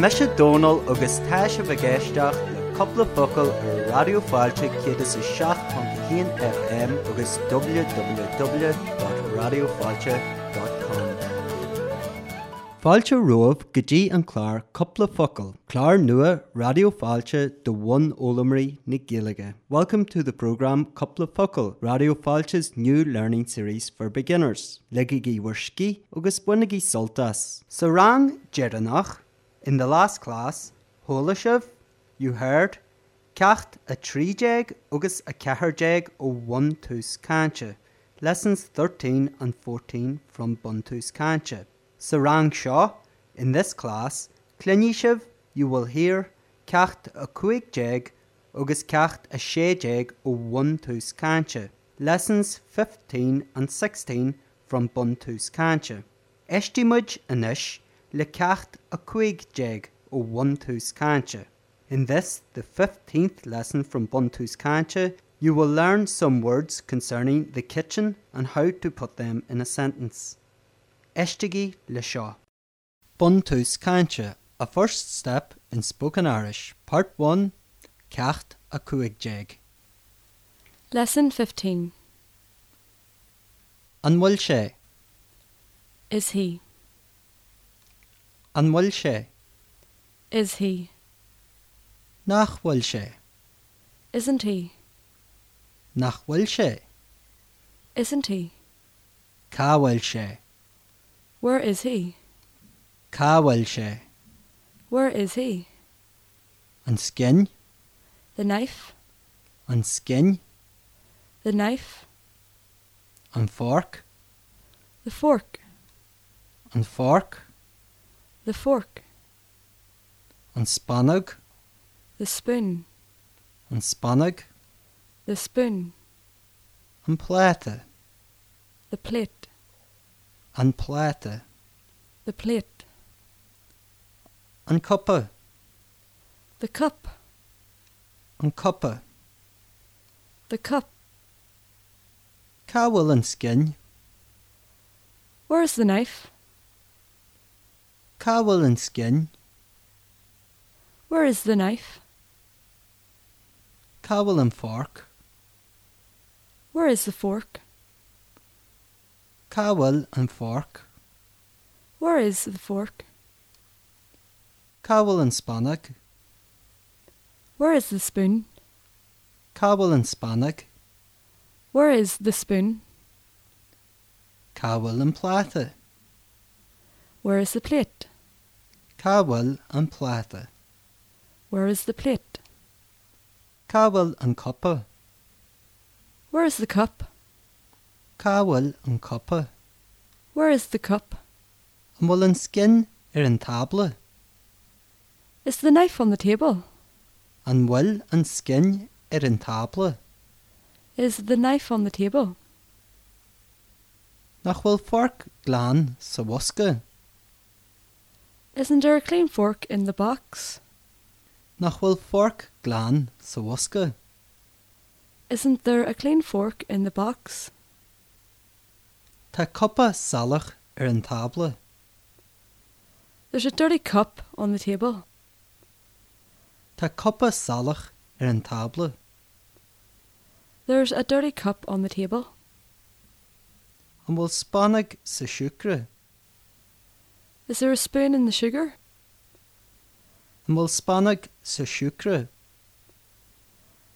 me se dóal agus tá se bhgéisteach le coppla focail ar radioáilte chéad is 16.1 FM agus www.radioáilte.com. Fáilte roimh gotí an chláir coppla focail, chláir nua radioáilte do bhain ólamarí na giige. Welcome to the program Coppla Focail, Radioáilte's new learning series for beginners, legaí bhuiiscí agus bunaí soltas. Sa rang jeannach, in the last class, Holashev, you heard, cecht a tríéag agus a ceharéag ó bhaús cáinte, lessons 13 and 14 from Buntus Kancha. Sarang Shah, in this class, Klinishev, you will hear cecht a cuiigjeg agus cecht a sééag ó bhaús cáinte, lessons 15 and 16 from Buntus Kancha. Estimuid inis le cecht a cuiigjeg ó bhaús cáinte. In this, the 15th lesson from Buntu's Kancha, you will learn some words concerning the kitchen and how to put them in a sentence. Eshtigi le Shah. Buntu's Kancha, a first step in spoken Irish, part 1, Cacht a Kuigjeg. Lesson 15. An bhfuil sé, Is he? an bhfuil sé, Is he? nach bhfuil sé, Isn't he? nach bhfuil sé, Isn't he? cá bhfuil sé, Where is he? cá bhfuil sé, Where is he? an skin, The knife? an skin, The knife? an fork, The fork? an fork, The fork? an spannag, The spoon? an spannag, The spoon? an pléite, The plate? an pléite, The plate? an cuppe, The cup? an cuppe, The cup? cá bhfuil an skin, Where is the knife? cá bhfuil an skin, Where is the knife? cá bhfuil an fork, Where is the fork? cá bhfuil an fork, Where is the fork? cá bhfuil an spannag, Where is the spoon? cá bhfuil an spannag, Where is the spoon? cá bhfuil an pléite, Where is the plate? cá bhfuil an pléite, Where is the plate? cá bhfuil an cuppe, Where is the cup? cá bhfuil an cuppe, Where is the cup? an bhfuil an skin ar an tabla, Is the knife on the table? an bhfuil an skin ar an tabla, Is the knife on the table? nach bhfuil fork glán sa bhuasca. Isn't there a clean fork in the box? nach bhfuil fork glán sa bhuasca, Isn't there a clean fork in the box? Tá coppa salach ar an tabla, There's a dirty cup on the table. Tá coppa salach ar an tabla, There's a dirty cup on the table. an bhfuil spannag sa siúcre, Is there a spoon in the sugar? an bhfuil spannag sa siúcre,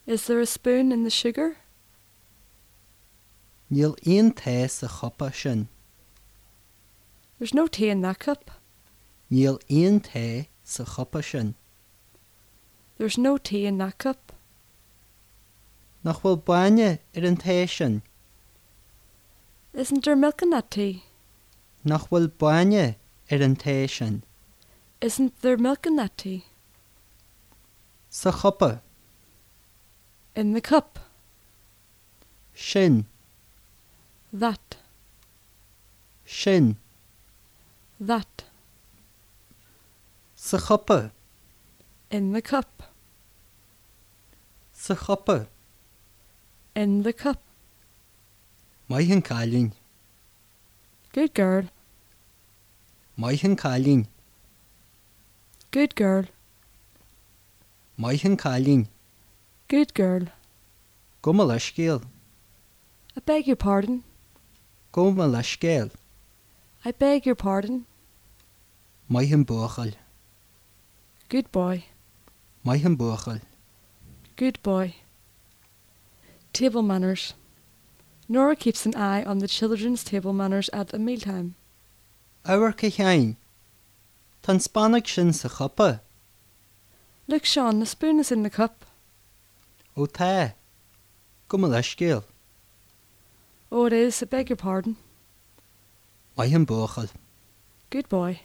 Is there a spoon in the sugar? níl aon ta sa choppa sin, There's no tea in that cup. níl aon ta sa choppa sin, There's no tea in that cup. nach bhfuil baine ar an ta sin, Isn't there milk in that tea? nach bhfuil baine ar an ta sin, Isn't there milk in that tea? sa choppa, In the cup. sin, That. sin, That. sa choppa, In the cup. sa choppa, In the cup. maith an cailín, Good girl. maith an cailín, Good girl. Maithan cailín, Good girl. go me leis céal, I beg your pardon. go me leis céal, I beg your pardon. maithan buchail, Good boy. maithan buchail, Good boy. Table manners. Nora keeps an eye on the children's table manners at a mealtime. áhar ce chein. Tá spánnach sin sa choppa Look, Sean, the spoon is in the cup. ó tá, go me leis céal, Oh, it is. I beg your pardon. maithan buchail, Good boy.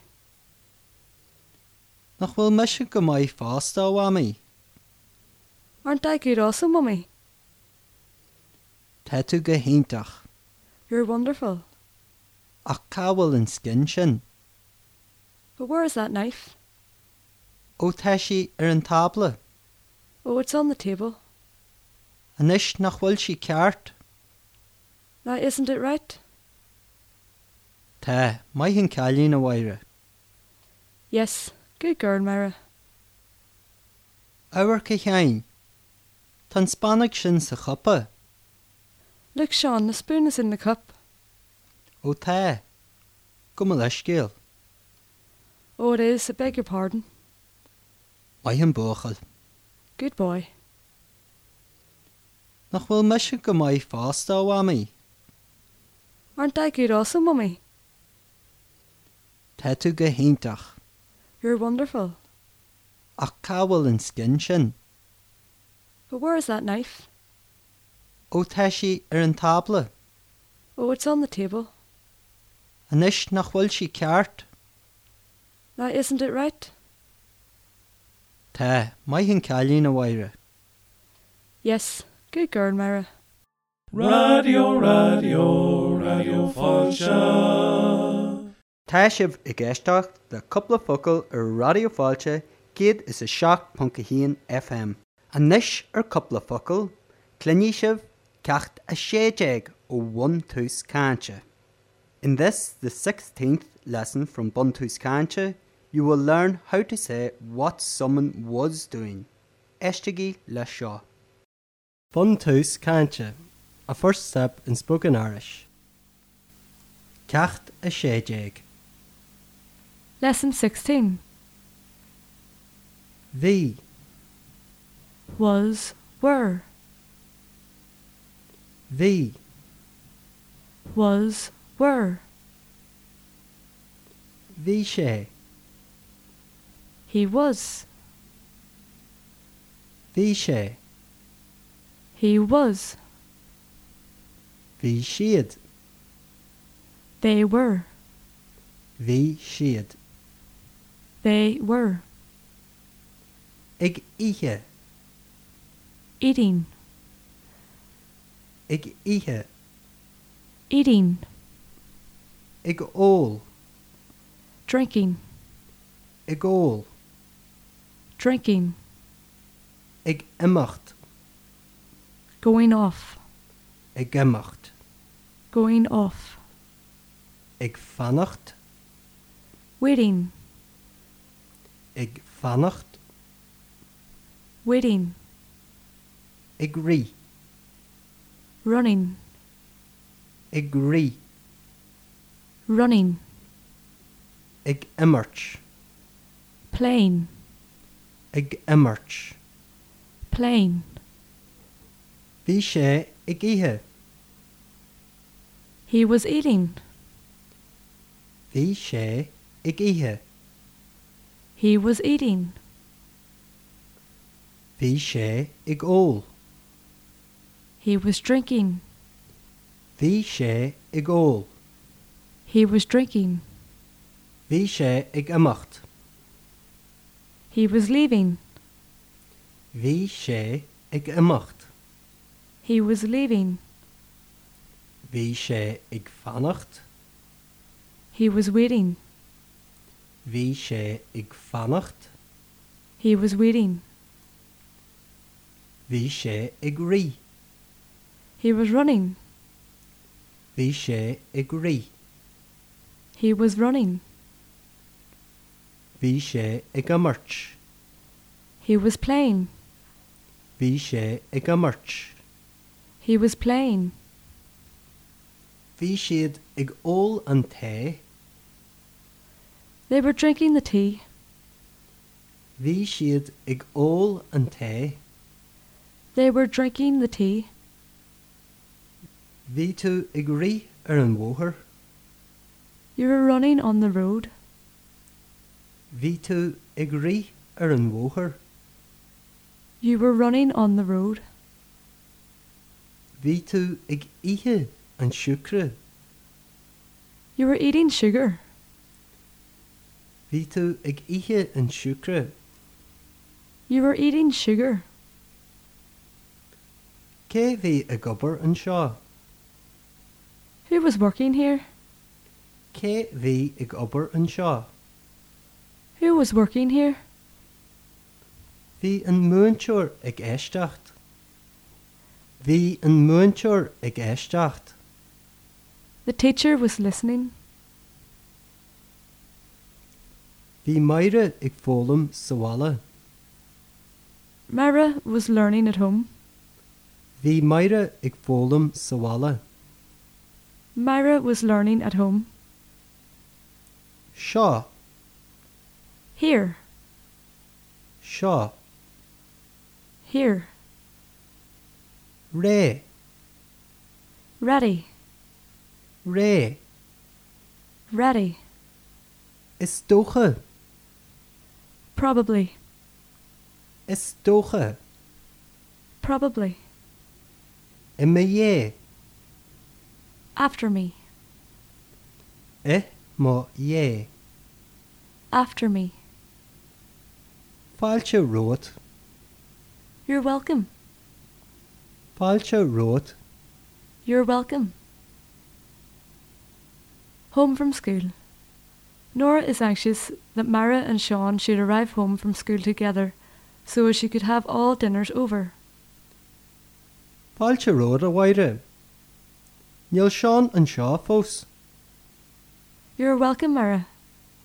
nach bhfuil me sin go maiid fásta bhhaí, Aren't I good also, Mummy? te tú go héintach You're wonderful. ach cáhfuil an scin sin But where is that knife? ó tá si ar an tabla, Oh, it's on the table. anis nach bhfuil si ceart, Now, isn't it right? Tá maithan cailín a bhaire. Yes. Good girl, Myra. Áhar ce chein. Tá spánnach sin sa choppa Look, Sean, the spoon is in the cup. ó tá, go me leis céal, Oh, it is. I beg your pardon. maithan buchail, Good boy. nach bhfuil me sin go maiid fásta bhhaí, Aren't I good also, Mummy? Tá tú go héintach You're wonderful. ach cáhfuil an scin sin But where is that knife? ó tá si ar an tabla, Oh, it's on the table. anis nach bhfuil si ceart, Now, isn't it right? Tá maithan cailín a bhaire. Yes. Good girl, Myra. Radio, radio, radio Falsha. Tá sibh i gceisteach le coppla focail ar radioáilte céad is a seach pontcahíon FM. An níis ar coppla focail, cluní sibh cecht a séideag ó bhaús cáinte. In this, the 16th lesson from Bantu's Kancha, you will learn how to say what someone was doing. Eshtigi Lashaw. Bantu's Kancha, a first step in spoken Irish. Cacht a Shejeg. Lesson 16. The Was, were, the was, were. the she He was, the she he was, the sheed they were, the sheed they were. ig ihe Eating, ig ihe eating, ig ól drinking, ig ól drinking, ig imacht going off, ig imacht going off, ig fannacht waiting, ig fannacht waiting, ig ri running, ig ri running, ig immerch playing, ig immerch playing, the she ig ihe he was eating, the she ig ihe he was eating, the she ig ól he was drinking, the she ig ól he was drinking, the she ig imacht he was leaving, the she ig imacht he was leaving, Bhí sé ag fannacht, he was waiting, bhí sé ag fannacht, he was waiting, bhí sé ag rí, he was running, bhí sé ag rí, he was running, Bhí sé ag an mairt. He was plain. Bhí sé ag an mairt. He was plain. Bhí siad ag ól an ta, They were drinking the tea. Bhí siad ag ól an ta, They were drinking the tea. Bhí tú ag rí ar an mhóthair, You were running on the road. Bhí tú ag rí ar an mhóthair, You were running on the road. Bhí tú ag ihe an siúcre, You were eating sugar. Bhí tú ag ihe an siúcre, You were eating sugar. cé bhí a gobar an seo, Who was working here? cé bhí ag obair an seo, Who was working here? Bhí an múinseir ag éisteacht. Bhí an múinseir ag éisteacht, The teacher was listening. Bhí maire ag fólam sahála, Myra was learning at home. Bhí maire ag fólam sahála, Myra was learning at home. seo, Here, seo, here, ré, ready, ré, ready, is dócha, probably, is dócha, probably, i ma dhé, after me, i má dhé, after me. fáilte rót, You're welcome, fáilte rót, you're welcome. Home from school. Nora is anxious that Myra and Sean should arrive home from school together so as she could have all dinners over. fáilte rót a bhaire. Níl seán an seo fós, You're welcome, Myra.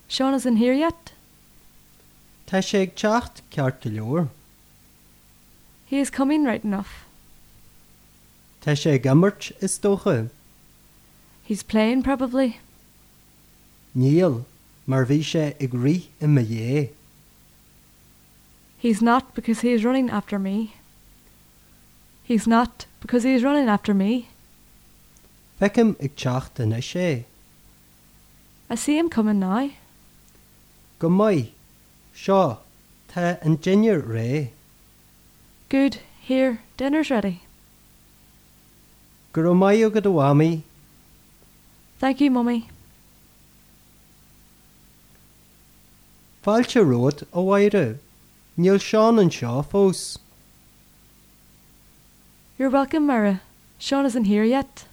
Sean isn't here yet. Tá sé ag techt ceart go leor. He is coming right enough. Tá sé gammart is dócha, He's playing probably. níl, mar bhí sé ag rí er i ma dhé, He's not because he is running after me. He's not because he is running after me. fecem ag teach duna sé, I see him coming now. go maiid, seo, tá an dinneir ré, Good, here, dinner's ready. gur ó maiid agad do bhhaí, Thank you, Mummy. fáilte ród ó bhaire, níl seán an seo fós, You're welcome, Myra. Sean isn't here yet.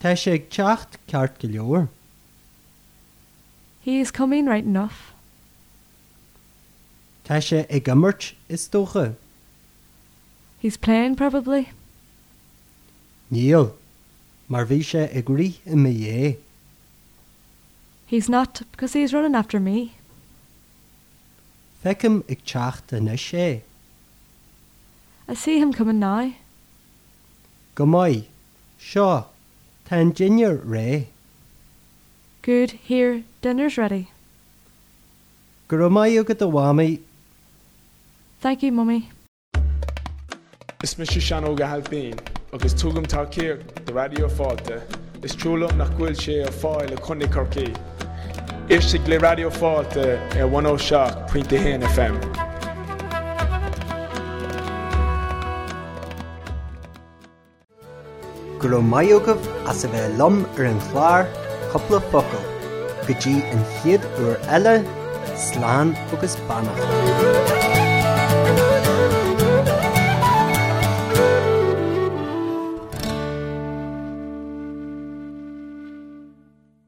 Tá sé ag techt ceart go leor, He is coming right enough. Tá sé ag gammart is dócha, He's playing probably. níl, mar bhí sé ag rí i ma dhé, He's not because he is running after me. fecem ag teach duna sé, I see him coming now. go maiid, seo, tá an dinneir ré. Good, here, dinner's ready. Go raibh maiid agad do bhhaí Thank you, Mummy. Is mis sean óga halbín agus tugam tá céir de radio fáte, Is trúlam nach ghfuil sé ar fáil le chunig corcé. Istigh le radio fáte ar 106 pointinte oh hen FM. go raibh maiid agah as a bheith lom ar an chláir coppla focail, go dtí an chiad uair eile, sláán agus bannach.